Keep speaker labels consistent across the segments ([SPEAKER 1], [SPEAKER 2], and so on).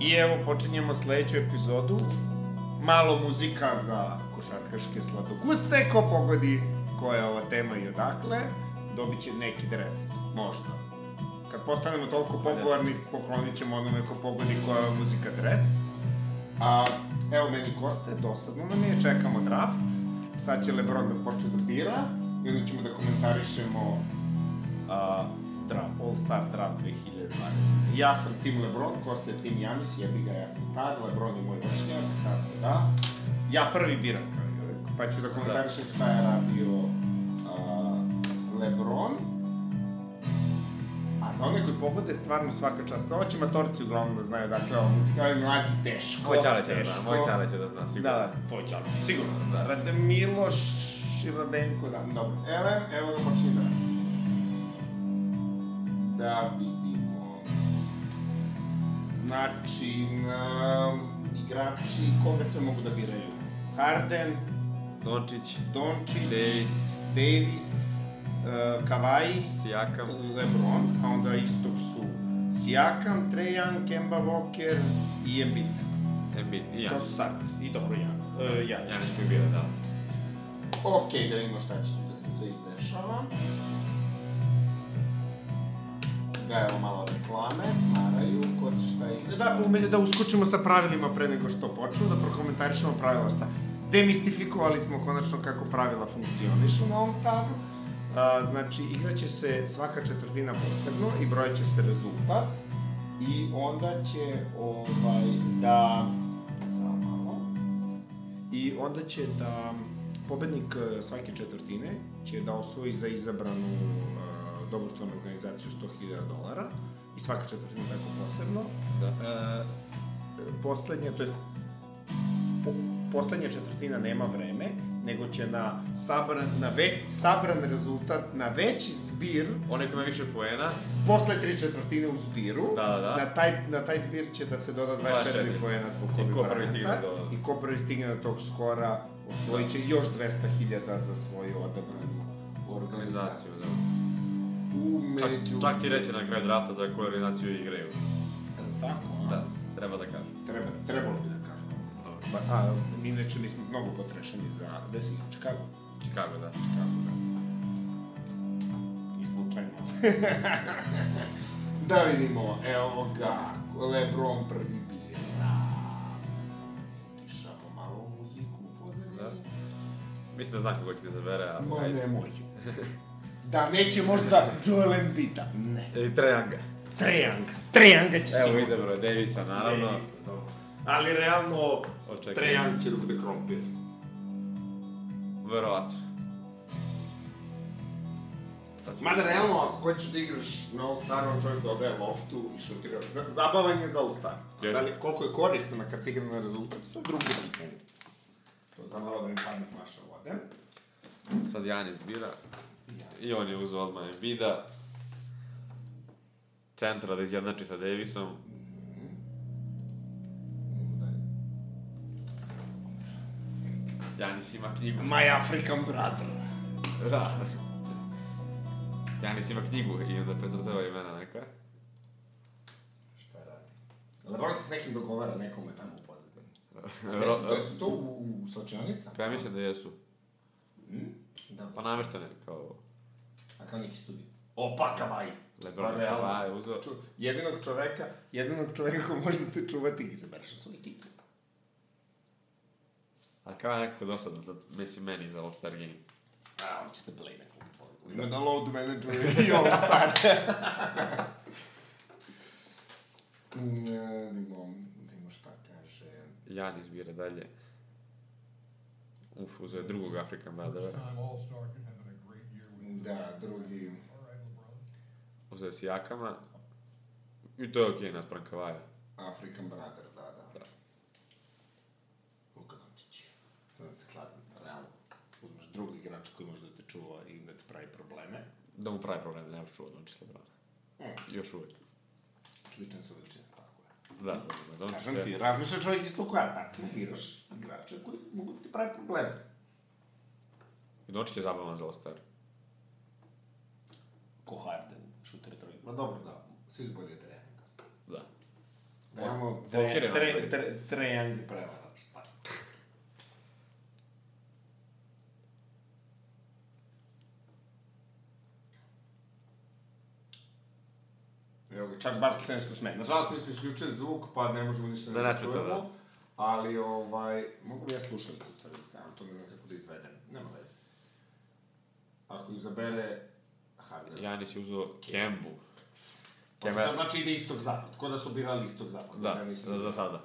[SPEAKER 1] I evo počinjemo sledeću epizodu. Malo muzika za košarkaške sladogusce, ko pogodi koja je ova tema i odakle, dobit će neki dres, možda. Kad postanemo toliko popularni, poklonit ćemo onome ko pogodi koja je ova muzika dres. A evo meni Koste, dosadno nam je, čekamo draft. Sad će Lebron da počne da bira i onda ćemo da komentarišemo a, draft, All Star draft 2020. Ja sam tim Lebron, Kosta je tim Janis, jebi ga, ja sam star, Lebron je moj vršnjak, tako da. Ja prvi biram kao i uvek, pa ću da komentarišem šta je radio a, Lebron. A za one koji pogode, stvarno svaka čast. Ovo će matorci uglavnom da znaju dakle ovo muzika, ali mlađi teško,
[SPEAKER 2] Moj čale će da zna,
[SPEAKER 1] teško.
[SPEAKER 2] moj čale će da zna,
[SPEAKER 1] Da,
[SPEAKER 2] sigurno.
[SPEAKER 1] da, tvoj čalo, sigurno. Da.
[SPEAKER 2] Da.
[SPEAKER 1] Rade Miloš Širabenko, da, dobro. Elem, evo ga počinje da. Da vidimo. Znači, na, igrači, koga sve mogu da biraju? Harden,
[SPEAKER 2] Dončić,
[SPEAKER 1] Dončić,
[SPEAKER 2] Davis,
[SPEAKER 1] Davis uh, Kavaji,
[SPEAKER 2] Sijakam,
[SPEAKER 1] Lebron, a onda istog su Sijakam, Trejan, Kemba Walker i Embiid.
[SPEAKER 2] Embiid i
[SPEAKER 1] To
[SPEAKER 2] Janis.
[SPEAKER 1] su starteri. I dobro, Jan. Uh, Jan.
[SPEAKER 2] Janis mi je bio, da.
[SPEAKER 1] Ok, da vidimo šta će tu da se sve izdešava. Da, evo malo reklame, smaraju, ko se šta igra. Da, ume, da uskočimo sa pravilima pre nego što počnu, da prokomentarišemo pravila šta. Demistifikovali smo konačno kako pravila funkcionišu na ovom stavu. A, znači, igraće se svaka četvrtina posebno i brojaće se rezultat. I onda će ovaj, da... Samo malo i onda će da pobednik e, svake četvrtine će da osvoji za izabranu e, dobrotvornu organizaciju 100.000 dolara i svaka četvrtina tako posebno.
[SPEAKER 2] Da.
[SPEAKER 1] E, poslednja, to je po, poslednja četvrtina nema vreme, nego će na sabran, na već, sabran rezultat na veći zbir
[SPEAKER 2] Onaj ko ima više poena,
[SPEAKER 1] posle tri četvrtine u zbiru.
[SPEAKER 2] da, da, da.
[SPEAKER 1] Na taj, na taj zbir će da se doda 24,
[SPEAKER 2] 24.
[SPEAKER 1] poena zbog
[SPEAKER 2] I
[SPEAKER 1] Kobe
[SPEAKER 2] ko prvi
[SPEAKER 1] Bryanta.
[SPEAKER 2] stigne do-
[SPEAKER 1] I ko prvi stigne do tog skora osvojit će još 200.000 za svoju odabranu organizaciju.
[SPEAKER 2] Organizaciju, da. Čak,
[SPEAKER 1] Umeđu...
[SPEAKER 2] čak ti reče na kraju drafta za koju organizaciju igraju.
[SPEAKER 1] Tako, a?
[SPEAKER 2] Da, treba da kažem.
[SPEAKER 1] Treba, trebalo bi da kažemo. Pa, a, mi inače mi smo mnogo potrešeni za... Gde si? Chicago?
[SPEAKER 2] Chicago, da.
[SPEAKER 1] Chicago, da. I slučajno. da vidimo, evo ga, Lebron prvi bira. Tiša pomalo u muziku u
[SPEAKER 2] Da.
[SPEAKER 1] pozadini.
[SPEAKER 2] Mislim da zna kako će da zabere, a...
[SPEAKER 1] Ma nemoj. Da neće možda Joel Embita. Ne.
[SPEAKER 2] I Trajanga.
[SPEAKER 1] Trejanga. Trejanga će
[SPEAKER 2] Evo,
[SPEAKER 1] sigurno.
[SPEAKER 2] izabro je Davisa, naravno.
[SPEAKER 1] Davis, dobro. Ali realno,
[SPEAKER 2] Očekujem.
[SPEAKER 1] Trejang će da bude krompir.
[SPEAKER 2] Verovatno. Sad će...
[SPEAKER 1] Mada realno, ako hoćeš da igraš na All-Staru, on čovjek dodaje loftu i šutira. Z zabavan je za All-Star.
[SPEAKER 2] Jeste.
[SPEAKER 1] Da li, koliko je koristan kad se igra na rezultat, to je drugi pitanje. To za malo da mi padne flaša vode.
[SPEAKER 2] Sad Janis bira.
[SPEAKER 1] Ja.
[SPEAKER 2] I on je uzao odmah Embiida. Centra da izjednači sa Davisom. Janis ima knjigu.
[SPEAKER 1] My African brother.
[SPEAKER 2] Da. Janis ima knjigu i onda precrtava imena neka.
[SPEAKER 1] Šta radi? Lebron se s nekim dogovara, nekome tamo u pozadini.
[SPEAKER 2] Ro,
[SPEAKER 1] Jesu, jesu to u, u slačionicama?
[SPEAKER 2] pa ja mislim da jesu.
[SPEAKER 1] Da.
[SPEAKER 2] Pa nameštene, kao
[SPEAKER 1] A kao neki studij. Opa, kavaj!
[SPEAKER 2] Lebron
[SPEAKER 1] Pa
[SPEAKER 2] pa,
[SPEAKER 1] realno.
[SPEAKER 2] Kava je uzeo.
[SPEAKER 1] Ču, jedinog čoveka, jedinog čoveka ko može da te čuva, ti ga izabereš u svoj titul.
[SPEAKER 2] A Kava je nekako dosadno, za, mislim meni za All-Star Game.
[SPEAKER 1] A, on će te play nekoliko poruku. Ima da load manager i ovo stane. Ne, vidimo, vidimo šta kaže.
[SPEAKER 2] Janis bira dalje. Uf, uzeo je drugog Afrikan
[SPEAKER 3] First
[SPEAKER 2] Bradera.
[SPEAKER 3] time All-Star could have a great year with.
[SPEAKER 1] Da, drugi...
[SPEAKER 3] All right, LeBron.
[SPEAKER 2] Uzeo je Sijakama. I to je okej, okay, naspram Kavaja.
[SPEAKER 1] African Brother, da, da. da. Luka Dončić. To da se kladim, realno. Uzmeš drugi igrač koji može da te čuva i da ti pravi probleme.
[SPEAKER 2] Da mu pravi problem, da nemaš čuo Dončić Lebrana.
[SPEAKER 1] Mm.
[SPEAKER 2] Još uvek.
[SPEAKER 1] Slične su veličine, tako je.
[SPEAKER 2] Da, da, da, Dončić
[SPEAKER 1] Kažem ti,
[SPEAKER 2] je-
[SPEAKER 1] razmišlja čovjek isto koja, tačno biraš igrače koji mogu da ti pravi problem.
[SPEAKER 2] Nočić je zabavan zelo star.
[SPEAKER 1] Ko Harden, šuter trojka. Ma dobro, da, svi zbolje treninga.
[SPEAKER 2] Da.
[SPEAKER 1] Nemamo
[SPEAKER 2] Blokirano
[SPEAKER 1] da tre,
[SPEAKER 2] je.
[SPEAKER 1] tre, trejangi prevara, šta? Evo ga, Charles Barkley se nešto smeje. Nažalost, mi smo isključili zvuk, pa ne možemo ništa
[SPEAKER 2] Da
[SPEAKER 1] ne
[SPEAKER 2] ne smeta, da.
[SPEAKER 1] čujemo. Ali, ovaj, mogu bi ja slušalicu staviti sam, to ne znam kako da izvedem. Nema veze. Ako izabere... Harden.
[SPEAKER 2] Janis je uzeo Kembu.
[SPEAKER 1] Pa
[SPEAKER 2] Kemba-
[SPEAKER 1] To znači ide istog zapad, ko da su birali istog zapad.
[SPEAKER 2] Da, za, za sada.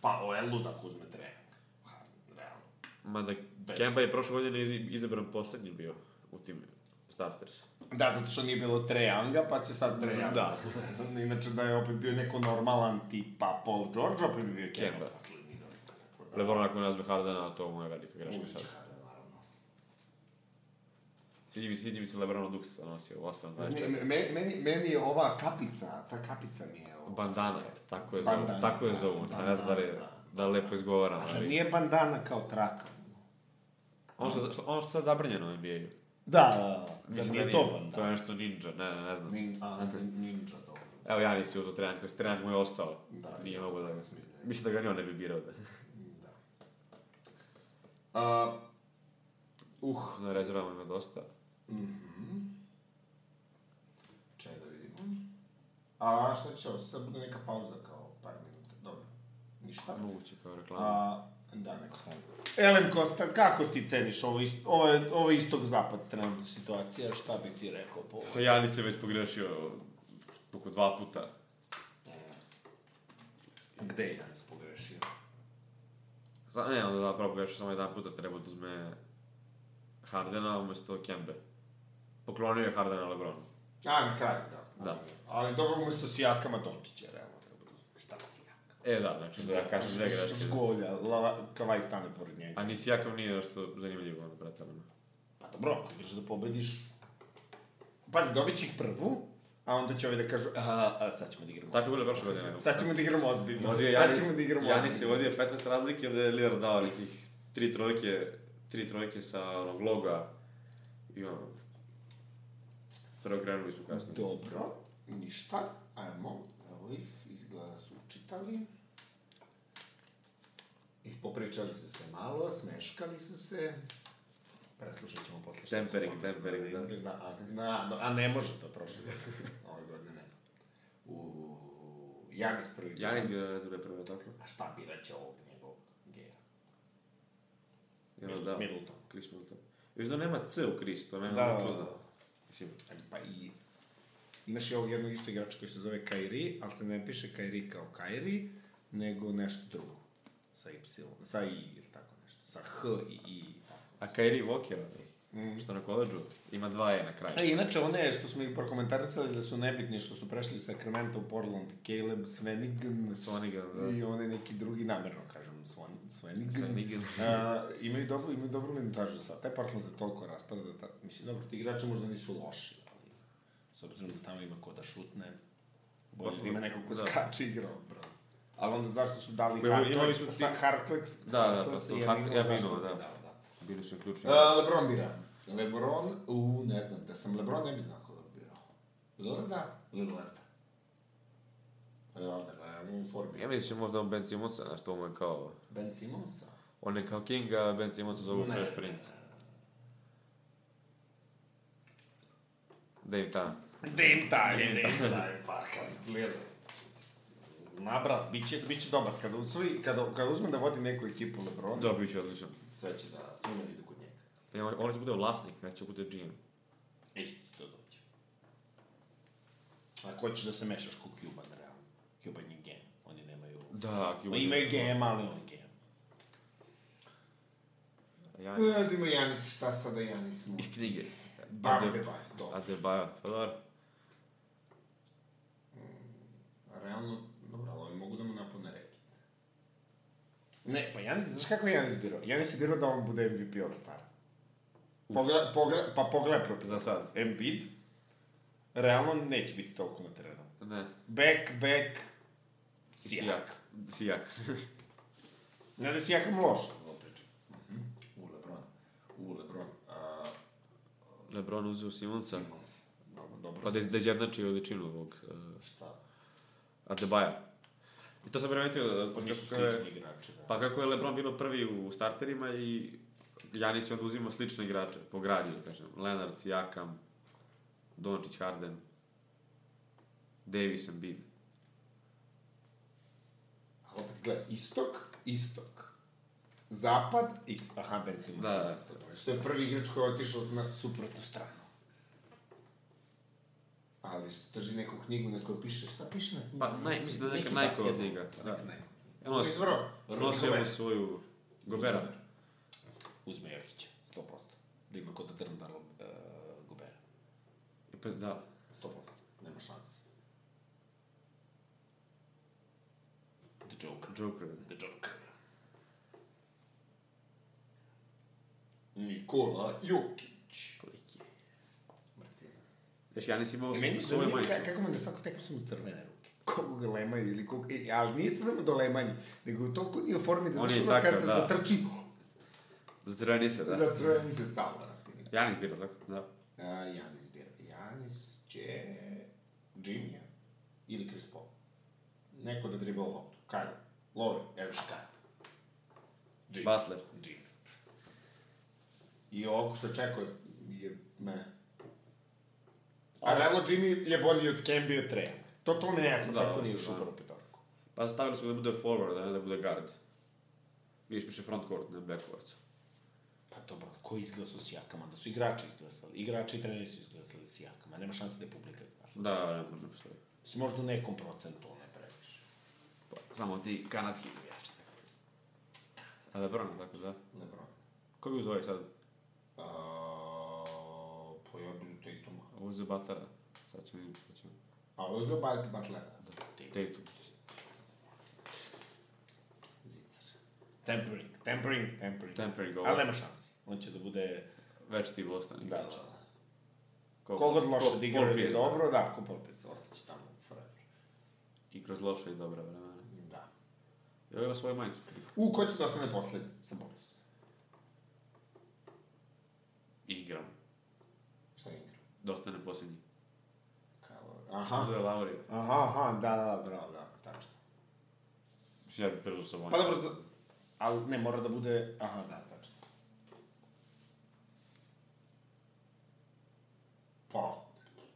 [SPEAKER 1] Pa ovo je ludak uzme trening. Ha, Realno.
[SPEAKER 2] Mada
[SPEAKER 1] Već.
[SPEAKER 2] Kemba je prošle godine iz- izabran poslednji bio u tim starters.
[SPEAKER 1] Da, zato što nije bilo Trejanga, pa će sad Trejanga.
[SPEAKER 2] Da.
[SPEAKER 1] Inače da je opet bio neko normalan tipa Paul George, opet bi bio Kemba.
[SPEAKER 2] Kemba.
[SPEAKER 1] Poslednji za tako da-
[SPEAKER 2] Lebron ako nazve Hardena, to mu je velika greška
[SPEAKER 1] Uzet će
[SPEAKER 2] sad.
[SPEAKER 1] Harden, naravno.
[SPEAKER 2] Sviđa mi, se- sviđa mi se Lebronov duks nosio, 8, 24.
[SPEAKER 1] Me- me- Meni, meni je ova kapica, ta kapica mi je ovo.
[SPEAKER 2] Bandana, tako je zovu,
[SPEAKER 1] Bandana,
[SPEAKER 2] tako je
[SPEAKER 1] da,
[SPEAKER 2] zovu.
[SPEAKER 1] bandana,
[SPEAKER 2] Ne znam da li,
[SPEAKER 1] da.
[SPEAKER 2] da lepo izgovaram,
[SPEAKER 1] A zar
[SPEAKER 2] ali...
[SPEAKER 1] nije bandana kao traka?
[SPEAKER 2] Ono što, što- ono što sad zabranjeno u NBA-u.
[SPEAKER 1] Da,
[SPEAKER 2] Mislim
[SPEAKER 1] zar
[SPEAKER 2] da
[SPEAKER 1] nije to bandana?
[SPEAKER 2] To je nešto ninja, ne, ne, ne znam.
[SPEAKER 1] Nin, a, ninja, dobro.
[SPEAKER 2] Evo ja nisi uzao trening, to trening mu je ostao.
[SPEAKER 1] Da,
[SPEAKER 2] Nije
[SPEAKER 1] je
[SPEAKER 2] mogo da
[SPEAKER 1] ostao,
[SPEAKER 2] ga
[SPEAKER 1] mislim da je.
[SPEAKER 2] Mislim da ga ni on ne bi birao da.
[SPEAKER 1] Da. A, Da.
[SPEAKER 2] Uh, na rezervama ima dosta.
[SPEAKER 1] Mhm. Čekaj da vidimo. A šta će ovo? Sad bude neka pauza kao par minuta. Dobro. Ništa.
[SPEAKER 2] Moguće kao reklama.
[SPEAKER 1] A, da, neko sam. Elem Kosta, kako ti ceniš ovo, ist, ovo, je- ovo je istog zapad trenutna situacija? Šta bi ti rekao po ovo?
[SPEAKER 2] Pa Ja nisam već pogrešio oko dva puta.
[SPEAKER 1] Gde je Janis pogrešio?
[SPEAKER 2] Za, ne, onda da, zapravo pogrešio samo jedan puta, treba da uzme Hardena umesto Kembe. Poklonio je Hardena Lebronu.
[SPEAKER 1] A, na kraju, da.
[SPEAKER 2] Da.
[SPEAKER 1] Ali dobro, umesto Sijakama Dončića, realno treba da uzmeš. Šta Sijaka?
[SPEAKER 2] E da, znači da ja kažem dve greške.
[SPEAKER 1] Žgolja, la, kavaj stane pored njega.
[SPEAKER 2] A nisi jakav nije nešto zanimljivo, ono, pretarano.
[SPEAKER 1] Pa dobro, ako ideš da pobediš... Pazi, dobit će ih prvu, a onda će ovi da kažu, a, a sad ćemo da igramo.
[SPEAKER 2] Tako je bilo prošle godine. nego.
[SPEAKER 1] Sad ćemo da igramo ozbiljno.
[SPEAKER 2] Vodio je
[SPEAKER 1] sad
[SPEAKER 2] Janis,
[SPEAKER 1] ćemo da igramo
[SPEAKER 2] Janis je vodio 15 razlike, onda je Lillard dao nekih tri trojke, tri trojke sa onog loga i ono, preokrenuli su kasnije.
[SPEAKER 1] Dobro, ništa, ajmo, evo ih, izgleda da su učitali. I popričali su se malo, smeškali su se. Preslušat ćemo posle. šta su
[SPEAKER 2] Tempering,
[SPEAKER 1] oni
[SPEAKER 2] tempering, da.
[SPEAKER 1] govorili. da. a, na, a ne može to prošle godine. Ove godine ne. U, Janis prvi.
[SPEAKER 2] Janis bio rezerve prvo, tako?
[SPEAKER 1] A šta birat će ovog njegovog geja?
[SPEAKER 2] I onda da,
[SPEAKER 1] Middleton.
[SPEAKER 2] Chris Middleton. Još da nema C u Chris, to meni
[SPEAKER 1] Da,
[SPEAKER 2] da,
[SPEAKER 1] da,
[SPEAKER 2] čudno.
[SPEAKER 1] da.
[SPEAKER 2] Mislim,
[SPEAKER 1] Pa i... Imaš i ovog jednog isto igrača koji se zove Kairi, ali se ne piše Kairi kao Kairi, nego nešto drugo. Sa Y, sa I ili tako nešto. Sa H i I i tako.
[SPEAKER 2] a Kyrie Walker,
[SPEAKER 1] Mm.
[SPEAKER 2] što na koleđu, ima dva E na
[SPEAKER 1] E,
[SPEAKER 2] kraju.
[SPEAKER 1] inače, one što smo ih prokomentarisali da su nebitni, što su prešli sa Sacramento, u Portland, Caleb, Svenigan,
[SPEAKER 2] Swanigan, da.
[SPEAKER 1] i one neki drugi, namerno kažem, Swan- Svenigan.
[SPEAKER 2] Swanigan.
[SPEAKER 1] A, imaju dobro, imaju dobro minutažu sad. Taj Portland se toliko raspada da ta, mislim, dobro, ti igrači možda nisu loši, ali s obzirom da tamo ima ko da šutne, bolje da ima neko ko
[SPEAKER 2] Da.
[SPEAKER 1] skače i igra odbranu. Ali onda zašto su dali
[SPEAKER 2] Pa imali- imali
[SPEAKER 1] Hartlex,
[SPEAKER 2] su ti-
[SPEAKER 1] sa Hartlex,
[SPEAKER 2] Da, da,
[SPEAKER 1] Hartlex
[SPEAKER 2] pa su
[SPEAKER 1] i
[SPEAKER 2] Hart-
[SPEAKER 1] Ermino,
[SPEAKER 2] Ermino,
[SPEAKER 1] zašto
[SPEAKER 2] da.
[SPEAKER 1] bi dao, da.
[SPEAKER 2] Bili su im ključni.
[SPEAKER 1] E, Lebron bira. Lebron, u, ne znam, da sam Lebron ne bi znao koga bi birao. Da. Lillarda? Lillarda. Lillarda, ne, u formi.
[SPEAKER 2] Ja mislim da će možda on Ben Simonsa, znaš, to mu je kao...
[SPEAKER 1] Ben da. Simonsa?
[SPEAKER 2] On je kao King, a Ben Simonsa zovu Fresh Prince. Dave Tan.
[SPEAKER 1] Dame time, dame time, pa kad gledam. Zna, brat, bit će, bit će dobar. Kada, usvoji, kada, kada uzme da vodi neku ekipu Lebrona,
[SPEAKER 2] Da, bit će odličan.
[SPEAKER 1] sve će da, svi ne idu kod njega.
[SPEAKER 2] Ne, E, on- On će bude vlasnik, neće da bude GM.
[SPEAKER 1] Isto to dođe. A ko ćeš da se mešaš ko Cuban, realno? Cuban je game, oni nemaju...
[SPEAKER 2] Da,
[SPEAKER 1] Oni imaju game, ali on je game.
[SPEAKER 2] Ja,
[SPEAKER 1] Ima Janis, šta sada Janis mu?
[SPEAKER 2] iz knjige.
[SPEAKER 1] Pa Bambe,
[SPEAKER 2] Ade-
[SPEAKER 1] dobro.
[SPEAKER 2] Adebayo, pa dobro.
[SPEAKER 1] Realno, dobro, ali ovi mogu da mu napune reket. Ne, pa Janis, znaš kako je Janis birao? Janis je birao da on bude MVP All Star. Pogled, pogled, pa pogledaj propis.
[SPEAKER 2] Za sad.
[SPEAKER 1] Embiid, realno neće biti toliko na terenu.
[SPEAKER 2] Ne.
[SPEAKER 1] Back, back, Sijak.
[SPEAKER 2] Sijak. Sijak.
[SPEAKER 1] Ne da je Sijakam loš, ovo pričam.
[SPEAKER 2] Lebron uzeo Simonsa.
[SPEAKER 1] Simons. Dobro, dobro.
[SPEAKER 2] Pa da, da izjednači veličinu ovog uh,
[SPEAKER 1] Šta?
[SPEAKER 2] Adebaja. I to sam primetio,
[SPEAKER 1] Pa
[SPEAKER 2] pa
[SPEAKER 1] nisu
[SPEAKER 2] kako je,
[SPEAKER 1] slični igrači. Da.
[SPEAKER 2] pa kako je Lebron bilo prvi u starterima i Janis je onda uzimao slične igrače, po gradi, da kažem. Lenard, Jakam, Dončić, Harden, Davis, Embiid.
[SPEAKER 1] A opet, gledaj, istok, istok. Zapad, istok. Aha, Ben Simons
[SPEAKER 2] Da,
[SPEAKER 1] da,
[SPEAKER 2] da.
[SPEAKER 1] istok. Što je prvi igrač koji je otišao na suprotnu stranu. Ali što drži neku knjigu na kojoj piše, šta piše na knjigu?
[SPEAKER 2] Pa, naj- mislim da je neka Nikeova knjiga, da.
[SPEAKER 1] Da. Nike.
[SPEAKER 2] Ono,
[SPEAKER 1] Ovo je izvro.
[SPEAKER 2] nosio mu
[SPEAKER 1] Gobert.
[SPEAKER 2] svoju Gobera.
[SPEAKER 1] Uzme Jokića, 100%. Da ima kod da drn dalo uh, Gobera.
[SPEAKER 2] I Pa, da.
[SPEAKER 1] 100%. Nema šanse. The Joker.
[SPEAKER 2] Joker.
[SPEAKER 1] The Joker. Nikola Jokić.
[SPEAKER 2] Koliki je.
[SPEAKER 1] Mrtvina.
[SPEAKER 2] Znaš, Janis imao
[SPEAKER 1] E, meni
[SPEAKER 2] svoju
[SPEAKER 1] su
[SPEAKER 2] svoju
[SPEAKER 1] zanimljivo
[SPEAKER 2] majicu.
[SPEAKER 1] ka- kako mu da svaku tekmu su mu crvene ruke. Kogu ga lemaju ili kogu... E, ali nije to samo do lemanja, nego je toliko nije u formi da
[SPEAKER 2] On
[SPEAKER 1] znaš
[SPEAKER 2] je
[SPEAKER 1] ono kad
[SPEAKER 2] takav,
[SPEAKER 1] se
[SPEAKER 2] da.
[SPEAKER 1] zatrči,
[SPEAKER 2] Zdreni se, da.
[SPEAKER 1] zatrveni se sam, brate.
[SPEAKER 2] Janis bira, tako? Da.
[SPEAKER 1] A, Janis bira. Janis će... Jimmy ili Chris Paul. Neko da dribao loptu. Kyle. Lori. Evo šta. Jimmy.
[SPEAKER 2] Butler.
[SPEAKER 1] Jimmy. I ovo što čekao je me... A realno Jimmy je bolji od Kemby od Treja. To to mi je jasno,
[SPEAKER 2] Da,
[SPEAKER 1] kako
[SPEAKER 2] da,
[SPEAKER 1] nije
[SPEAKER 2] da.
[SPEAKER 1] ušao u prvu petorku.
[SPEAKER 2] Pa stavili su ga da bude forward, a ne da bude guard. Vidiš, piše front court, ne back court.
[SPEAKER 1] Pa dobro, ko je izglasao s jakama? Da su igrači izglasali. Igrači i treneri su izglasali s jakama. Nema šanse da je publika izglasala.
[SPEAKER 2] Da, da, ne može postoji.
[SPEAKER 1] Mislim, možda u nekom procentu ne previše.
[SPEAKER 2] Pa, samo ti kanadski igrači. A da brano, tako da.
[SPEAKER 1] Ne broj.
[SPEAKER 2] Ko bi uzvoj sad?
[SPEAKER 1] Uh, pa ja bi Tatuma.
[SPEAKER 2] Ovo je za Butlera. Sad ćemo vidjeti što ćemo.
[SPEAKER 1] A ovo je za Bajt Butlera.
[SPEAKER 2] Tatum.
[SPEAKER 1] Zicar. Tempering, tempering, tempering.
[SPEAKER 2] Tempering govor.
[SPEAKER 1] Ali nema šansi. On će da bude...
[SPEAKER 2] Već ti Boston
[SPEAKER 1] Da,
[SPEAKER 2] igrač.
[SPEAKER 1] da, da. Kogod loše da igra ili dobro, da, ko Polpec, ostaće tamo forever.
[SPEAKER 2] I kroz loše i dobra vremena.
[SPEAKER 1] Da.
[SPEAKER 2] I ovo ima svoju majicu.
[SPEAKER 1] U, ko će da ostane poslednji? Sabonis.
[SPEAKER 2] Igram.
[SPEAKER 1] Šta je igra?
[SPEAKER 2] Dosta ne posljednji.
[SPEAKER 1] Kao... Aha.
[SPEAKER 2] Uzeo je Lauri.
[SPEAKER 1] Aha, aha, da, da, bravo, da, tačno.
[SPEAKER 2] Mislim, ja bih preuzeo sa
[SPEAKER 1] Pa dobro, za- ali ne, mora da bude... Aha, da, tačno. Pa,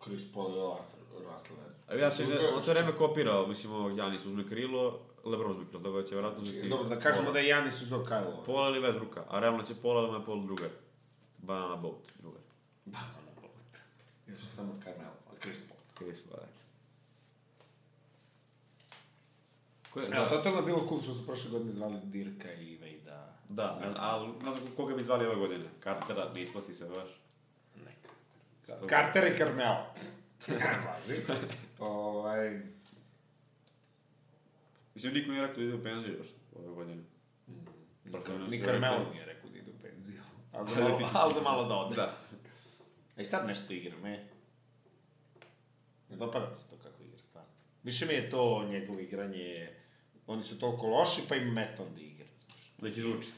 [SPEAKER 1] Chris Paul i Russell, Russell
[SPEAKER 2] A ja se,
[SPEAKER 1] Uzeo-
[SPEAKER 2] on se vreme kopirao, mislim, ovog Janis uzme krilo, Lebron uzme krilo, tako da će vjerojatno uzeti...
[SPEAKER 1] Dobro, da kažemo
[SPEAKER 2] Pola-
[SPEAKER 1] da je Janis uzeo Kyle Lowry.
[SPEAKER 2] Pola ili Westbrooka, a realno će pola ili pol drugar. Banana boat, drugar.
[SPEAKER 1] Banana boat. Još samo Carmelo, a Chris Paul.
[SPEAKER 2] Chris Paul. Ko je,
[SPEAKER 1] Evo,
[SPEAKER 2] da,
[SPEAKER 1] totalno je bilo cool što su prošle godine zvali Dirka i Vejda.
[SPEAKER 2] da, ali ne znam koga bi zvali ove godine. Cartera, ne isplati se baš.
[SPEAKER 1] Ne, Carter.
[SPEAKER 2] Sto-
[SPEAKER 1] Carter i Carmelo. Ne važi. ovaj...
[SPEAKER 2] Mislim, niko nije rekao da ide u penziju još ove godine. Protiv nas
[SPEAKER 1] Ni
[SPEAKER 2] je
[SPEAKER 1] Carmelo
[SPEAKER 2] rekao-
[SPEAKER 1] nije rekao da ide u penziju. Ali za malo, ali za malo da ode.
[SPEAKER 2] Da.
[SPEAKER 1] E sad nešto igra, ne? Ne dopada mi se to kako igra stvarno. Više mi je to njegovo igranje, oni su toliko loši pa ima mesto onda igra.
[SPEAKER 2] Da ih izvuči.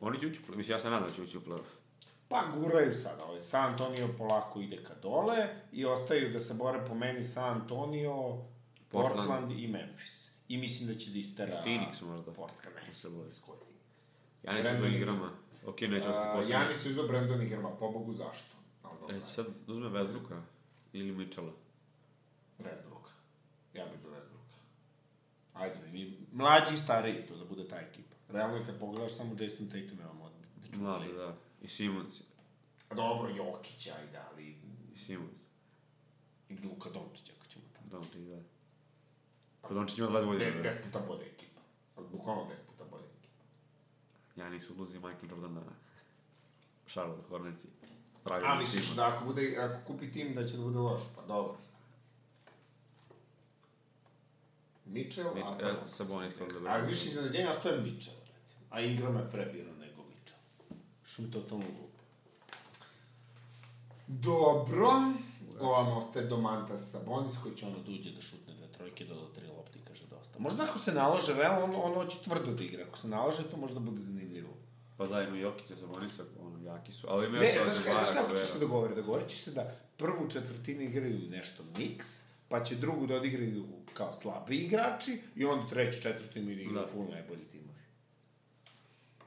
[SPEAKER 2] Oni će ući u play-off. Mislim, ja se nadam da će ući u play-off.
[SPEAKER 1] Pa guraju sada, ovaj San Antonio polako ide ka dole i ostaju da se bore po meni San Antonio, Portland,
[SPEAKER 2] Portland.
[SPEAKER 1] i Memphis. I mislim da će da Pa, istera...
[SPEAKER 2] I Phoenix možda.
[SPEAKER 1] Portland, ne.
[SPEAKER 2] Da se bore.
[SPEAKER 1] Skoj Phoenix.
[SPEAKER 2] Ja nisam
[SPEAKER 1] Brandon-
[SPEAKER 2] svojim igrama. Okej, neće ostati
[SPEAKER 1] A,
[SPEAKER 2] posljednji.
[SPEAKER 1] Janis je uzao Brandon Ingrama, pobogu zašto. Ali dobro,
[SPEAKER 2] E, sad uzme Westbrooka ili Mitchella.
[SPEAKER 1] Westbrooka. Ja bih za Westbrooka. Ajde, i mlađi i stariji, to da bude ta ekipa. Realno je kad pogledaš samo Jason Tatum, imamo od dečaka.
[SPEAKER 2] Mlade, da. I Simons.
[SPEAKER 1] Dobro, Jokić, ajde, ali
[SPEAKER 2] I Simons.
[SPEAKER 1] i Luka Dončić, ako ćemo tako.
[SPEAKER 2] Dončić, da. Pa Dončić ima 20 godina.
[SPEAKER 1] De,
[SPEAKER 2] brate.
[SPEAKER 1] des puta bolja ekipa. Ali bukvalno des puta bolja ekipa.
[SPEAKER 2] Ja nisam odluzi Michael da Jordana. Charlotte Hornetsi. Pravi
[SPEAKER 1] A misliš da ako, bude, ako kupi tim da će da bude loš, pa dobro. Mitchell,
[SPEAKER 2] Mitchell,
[SPEAKER 1] a
[SPEAKER 2] e,
[SPEAKER 1] Sabonis.
[SPEAKER 2] Sabonis kod dobro.
[SPEAKER 1] A više iznenađenja ostaje Mitchell, recimo. A Ingram je prebira nego Mitchell. Što mi totalno glupo. Dobro. Ovam ostaje Domantas Sabonis koji će ono da uđe da šutne dve trojke, doda tri lopte
[SPEAKER 2] da
[SPEAKER 1] i kaže dosta. Možda ako se nalože, realno on, on hoće tvrdo da igra. Ako se nalože, to možda bude zanimljivo.
[SPEAKER 2] Pa da, ima Jokić, se oni sa ono, jaki su. Ali ima
[SPEAKER 1] Ne,
[SPEAKER 2] još ovaj
[SPEAKER 1] znaš kako,
[SPEAKER 2] Dubara
[SPEAKER 1] znaš kako će
[SPEAKER 2] Gobera.
[SPEAKER 1] se dogovoriti? Dogovorit će se da prvu četvrtinu igraju nešto miks, pa će drugu da odigraju kao slabi igrači i onda treću, četvrtu im igraju da.
[SPEAKER 2] Da.
[SPEAKER 1] full najbolji timovi.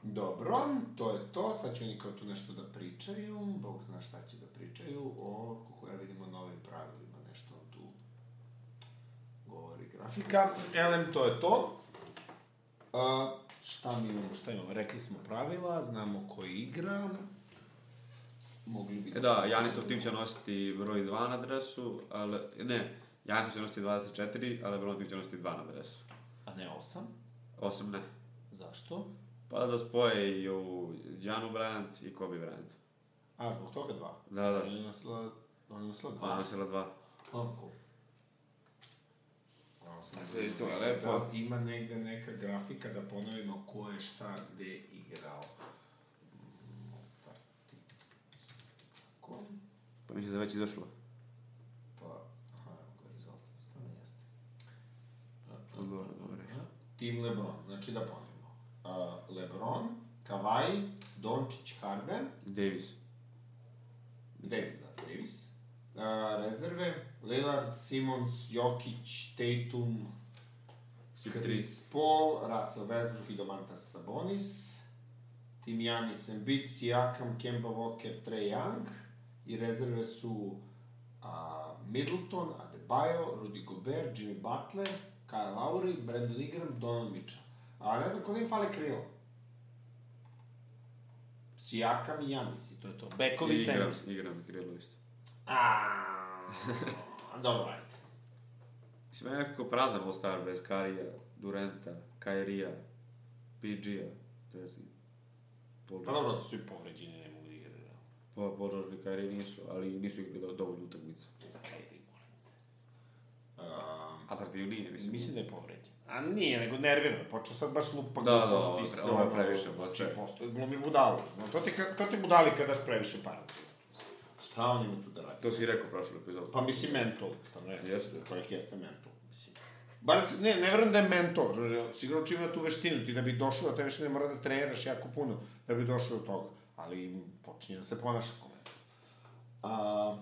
[SPEAKER 1] Dobro, to je to. Sad će oni kao tu nešto da pričaju. Bog zna šta će da pričaju o, kako ja vidimo, novim pravilima. Nešto on tu govori grafika. Elem, to je to. A, šta mi imamo, šta imamo? Rekli smo pravila, znamo ko igra. Mogli bi...
[SPEAKER 2] E da, Janisov tim će nositi broj 2 na dresu, ali, ne, Janisov će nositi 24, a Lebron tim će nositi 2 na dresu.
[SPEAKER 1] A ne osam?
[SPEAKER 2] Osim ne.
[SPEAKER 1] Zašto?
[SPEAKER 2] Pa da spoje i ovu Giannu Bryant i Kobe Bryant.
[SPEAKER 1] A, zbog toga dva.
[SPEAKER 2] Da, da.
[SPEAKER 1] Oni nosila, oni nosila dva.
[SPEAKER 2] Pa nosila dva.
[SPEAKER 1] Onko. A, sam-
[SPEAKER 2] Dakle, i to je lepo.
[SPEAKER 1] Pa, Da, ima negde neka grafika da ponovimo ko je šta gde igrao. Ko?
[SPEAKER 2] Pa mislim da je već izašlo.
[SPEAKER 1] Pa, aha, evo ga rezultat, stvarno jeste. ja.
[SPEAKER 2] Dobro, dobro.
[SPEAKER 1] Tim Lebron, znači da ponovimo. A, Lebron, Kavaj, Dončić, Harden,
[SPEAKER 2] Davis.
[SPEAKER 1] Davis, da, Davis. A, rezerve, Lillard, Simons, Jokić, Tatum,
[SPEAKER 2] CP3.
[SPEAKER 1] Chris Paul, Russell Westbrook i Domantas Sabonis, Tim Janis, Embiid, Siakam, Kemba Walker, Trae Young i rezerve su a, Middleton, Adebayo, Rudy Gobert, Jimmy Butler, Kyle Lowry, Brandon Ingram, Donovan Mitchell. A ne znam kod im fale krilo. Sijakam i Janis i to je to. Bekovi
[SPEAKER 2] I
[SPEAKER 1] centri.
[SPEAKER 2] igram, igram krilo isto.
[SPEAKER 1] A, dobro, ajde.
[SPEAKER 2] Mislim, ja nekako prazan All-Star bez Karija, Durenta, Kairija, PG-a, to je Paul
[SPEAKER 1] Pa dobro, da su svi povređeni, ne mogu da igraju.
[SPEAKER 2] Pa Paul George i Kyrie nisu, ali nisu igrali do, dovoljno utakmica.
[SPEAKER 1] Um,
[SPEAKER 2] Atraktivnije, mislim.
[SPEAKER 1] mislim da je povređen. A nije, nego nervirano. je. Počeo sad baš lupa
[SPEAKER 2] Da, da, ovo je pre- ovo je previše,
[SPEAKER 1] Znači,
[SPEAKER 2] postaje.
[SPEAKER 1] postoje, glumi budalu. No, to, ti, ka- to ti budali kad daš previše para. Šta on ima tu da radi?
[SPEAKER 2] To si i rekao prošlu epizodu.
[SPEAKER 1] Pa mislim mental, stvarno jeste.
[SPEAKER 2] Jeste.
[SPEAKER 1] Čovjek jeste mental, mislim. Bar, se- ne, ne verujem da je mentor, sigurno će ima tu veštinu, ti da bi došao, a te veštine mora da treniraš jako puno, da bi došao do toga, ali počinje da se ponaša kao mentor. A,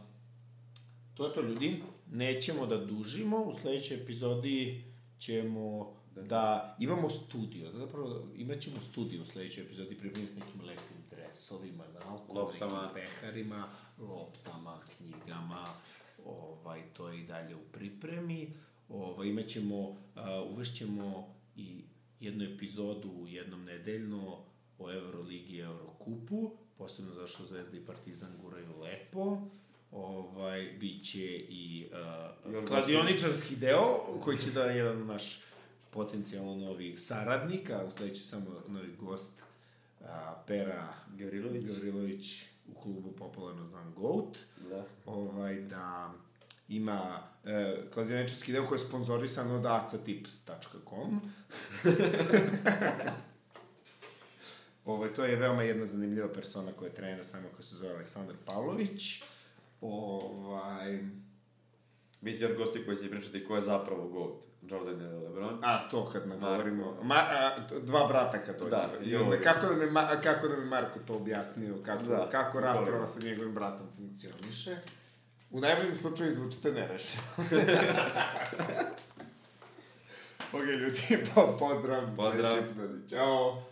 [SPEAKER 1] to je to, ljudi, nećemo da dužimo, u sledećoj epizodi ćemo da, imamo studio, zapravo imat ćemo studio u sledećoj epizodi, pripremljen s nekim lepim dresovima, naoko,
[SPEAKER 2] Loptama.
[SPEAKER 1] nekim peharima, loptama, knjigama, ovaj, to je i dalje u pripremi. Ovaj, imat ćemo, a, uvešćemo i jednu epizodu u jednom nedeljno o Euroligi i Eurokupu, posebno zašto Zvezda i Partizan guraju lepo. Ovaj, biće i
[SPEAKER 2] Još
[SPEAKER 1] uh, kladioničarski deo, koji će da je jedan naš potencijalno novi saradnik, a u sledećoj samo novi gost a, Pera
[SPEAKER 2] Gavrilović.
[SPEAKER 1] Gavrilović u klubu popularno zvan Goat,
[SPEAKER 2] Da.
[SPEAKER 1] ovaj, da ima e, kladioničarski deo koji je sponzorisan od acatips.com. ovaj, to je veoma jedna zanimljiva persona koja je trener s nama koja se zove Aleksandar Pavlović. Ovaj,
[SPEAKER 2] Biće još gosti koji će pričati ko je zapravo GOAT. Jordan ili LeBron.
[SPEAKER 1] A, to kad nagovorimo.
[SPEAKER 2] Marko.
[SPEAKER 1] Ma, a, t- dva brata kad dođe. Da,
[SPEAKER 2] Da,
[SPEAKER 1] I onda,
[SPEAKER 2] dobro.
[SPEAKER 1] kako, da mi, Ma- kako da mi Marko to objasnio, kako, da,
[SPEAKER 2] Da,
[SPEAKER 1] kako rasprava
[SPEAKER 2] dobro.
[SPEAKER 1] sa njegovim bratom funkcioniše. U najboljem slučaju izvučite nereš. ok, ljudi, po, pozdrav. do sledeće
[SPEAKER 2] Pozdrav.
[SPEAKER 1] epizode. Ćao.